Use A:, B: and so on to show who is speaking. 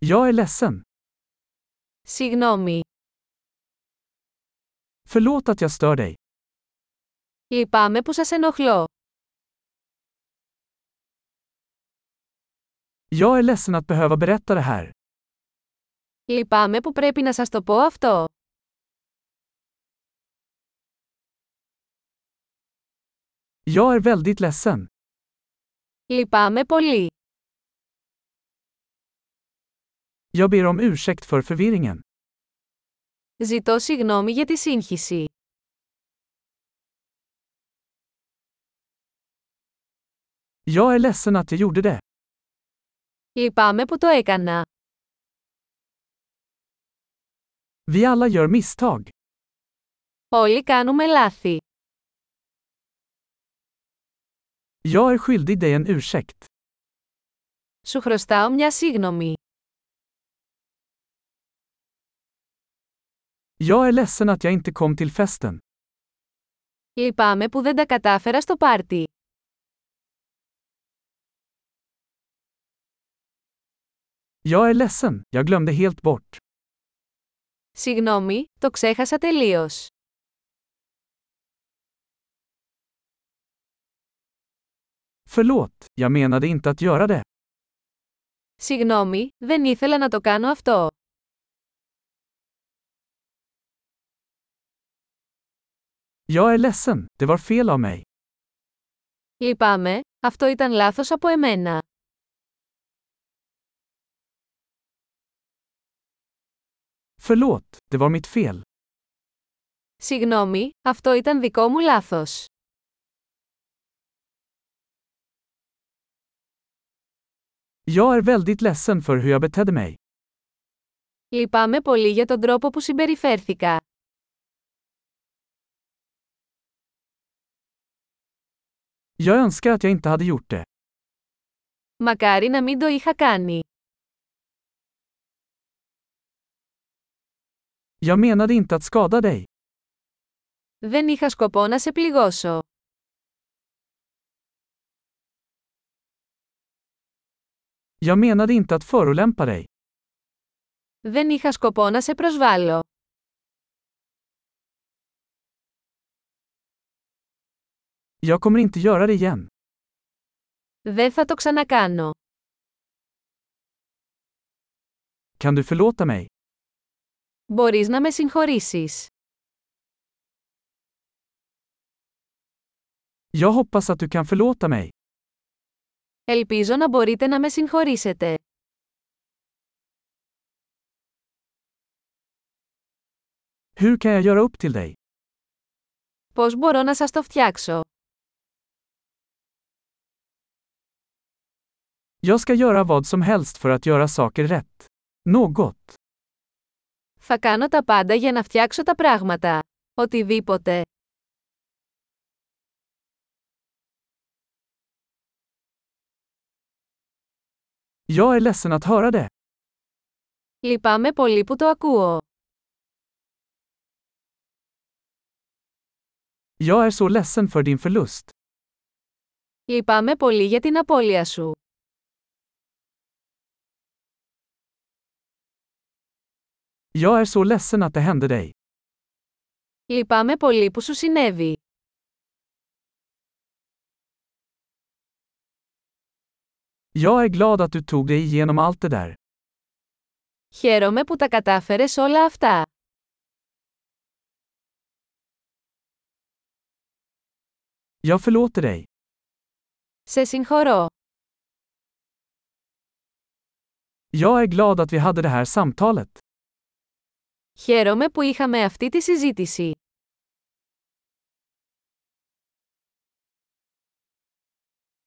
A: Jag är ledsen.
B: Συγγνώμη.
A: Förlåt att jag stör dig.
B: Λυπάμαι που σας ενοχλώ.
A: Jag är ledsen att behöva berätta det här.
B: Λυπάμαι που πρέπει να σας το πω αυτό.
A: Jag är väldigt ledsen.
B: Λυπάμαι πολύ.
A: Jag ber om ursäkt för förvirringen.
B: Ζητώ συγγνώμη για τη σύγχυση.
A: Jag är ledsen att jag gjorde det.
B: Λυπάμαι που το έκανα.
A: Vi alla gör misstag.
B: Όλοι κάνουμε λάθη.
A: Jag är skyldig dig en ursäkt.
B: Σου χρωστάω μια σύγγνωμη.
A: Jag är ledsen att jag inte kom till festen.
B: Λυπάμαι που δεν τα κατάφερα στο πάρτι.
A: Jag är ledsen, jag glömde helt bort.
B: Συγγνώμη, το ξέχασα τελείως.
A: Förlåt, jag menade inte att göra det.
B: Συγγνώμη, δεν ήθελα να το κάνω αυτό.
A: Jag är ledsen, det var fel av mig.
B: Λυπάμαι, αυτό ήταν λάθος από εμένα.
A: Förlåt, det var mitt fel.
B: Συγγνώμη, αυτό ήταν δικό μου λάθος.
A: Jag är väldigt ledsen för hur jag betedde mig.
B: Λυπάμαι πολύ για τον τρόπο που συμπεριφέρθηκα.
A: Jag önskar att jag inte hade gjort det.
B: Μακάρι να μην το είχα κάνει.
A: Jag menade inte att skada dig.
B: Δεν είχα σκοπό να σε πληγώσω.
A: Jag menade inte att förolämpa dig.
B: Δεν είχα σκοπό να σε προσβάλλω.
A: Jag kommer inte göra det igen.
B: Δεν θα το ξανακάνω.
A: Kan du förlåta mig?
B: Μπορείς να με συγχωρήσεις.
A: Jag hoppas att du kan förlåta mig.
B: Ελπίζω να μπορείτε να με συγχωρήσετε.
A: Hur kan jag göra upp till dig?
B: Πώς μπορώ να σας το φτιάξω.
A: Jag ska göra vad som helst för att göra saker rätt. Något.
B: Θα κάνω τα πάντα για να φτιάξω τα πράγματα. Οτιδήποτε.
A: Jag är ledsen att höra det.
B: Λυπάμαι πολύ που το ακούω.
A: Jag är så ledsen för din förlust.
B: Λυπάμαι πολύ για την απώλεια σου.
A: Jag är så ledsen att det hände dig.
B: Λυπάμαι πολύ που σου συνέβη.
A: Jag är glad att du tog dig igenom allt det där.
B: Χαίρομαι που τα κατάφερες όλα αυτά.
A: Jag förlåter dig.
B: Σε συγχωρώ.
A: Jag är glad att vi hade det här samtalet.
B: Χαίρομαι που είχαμε αυτή τη συζήτηση.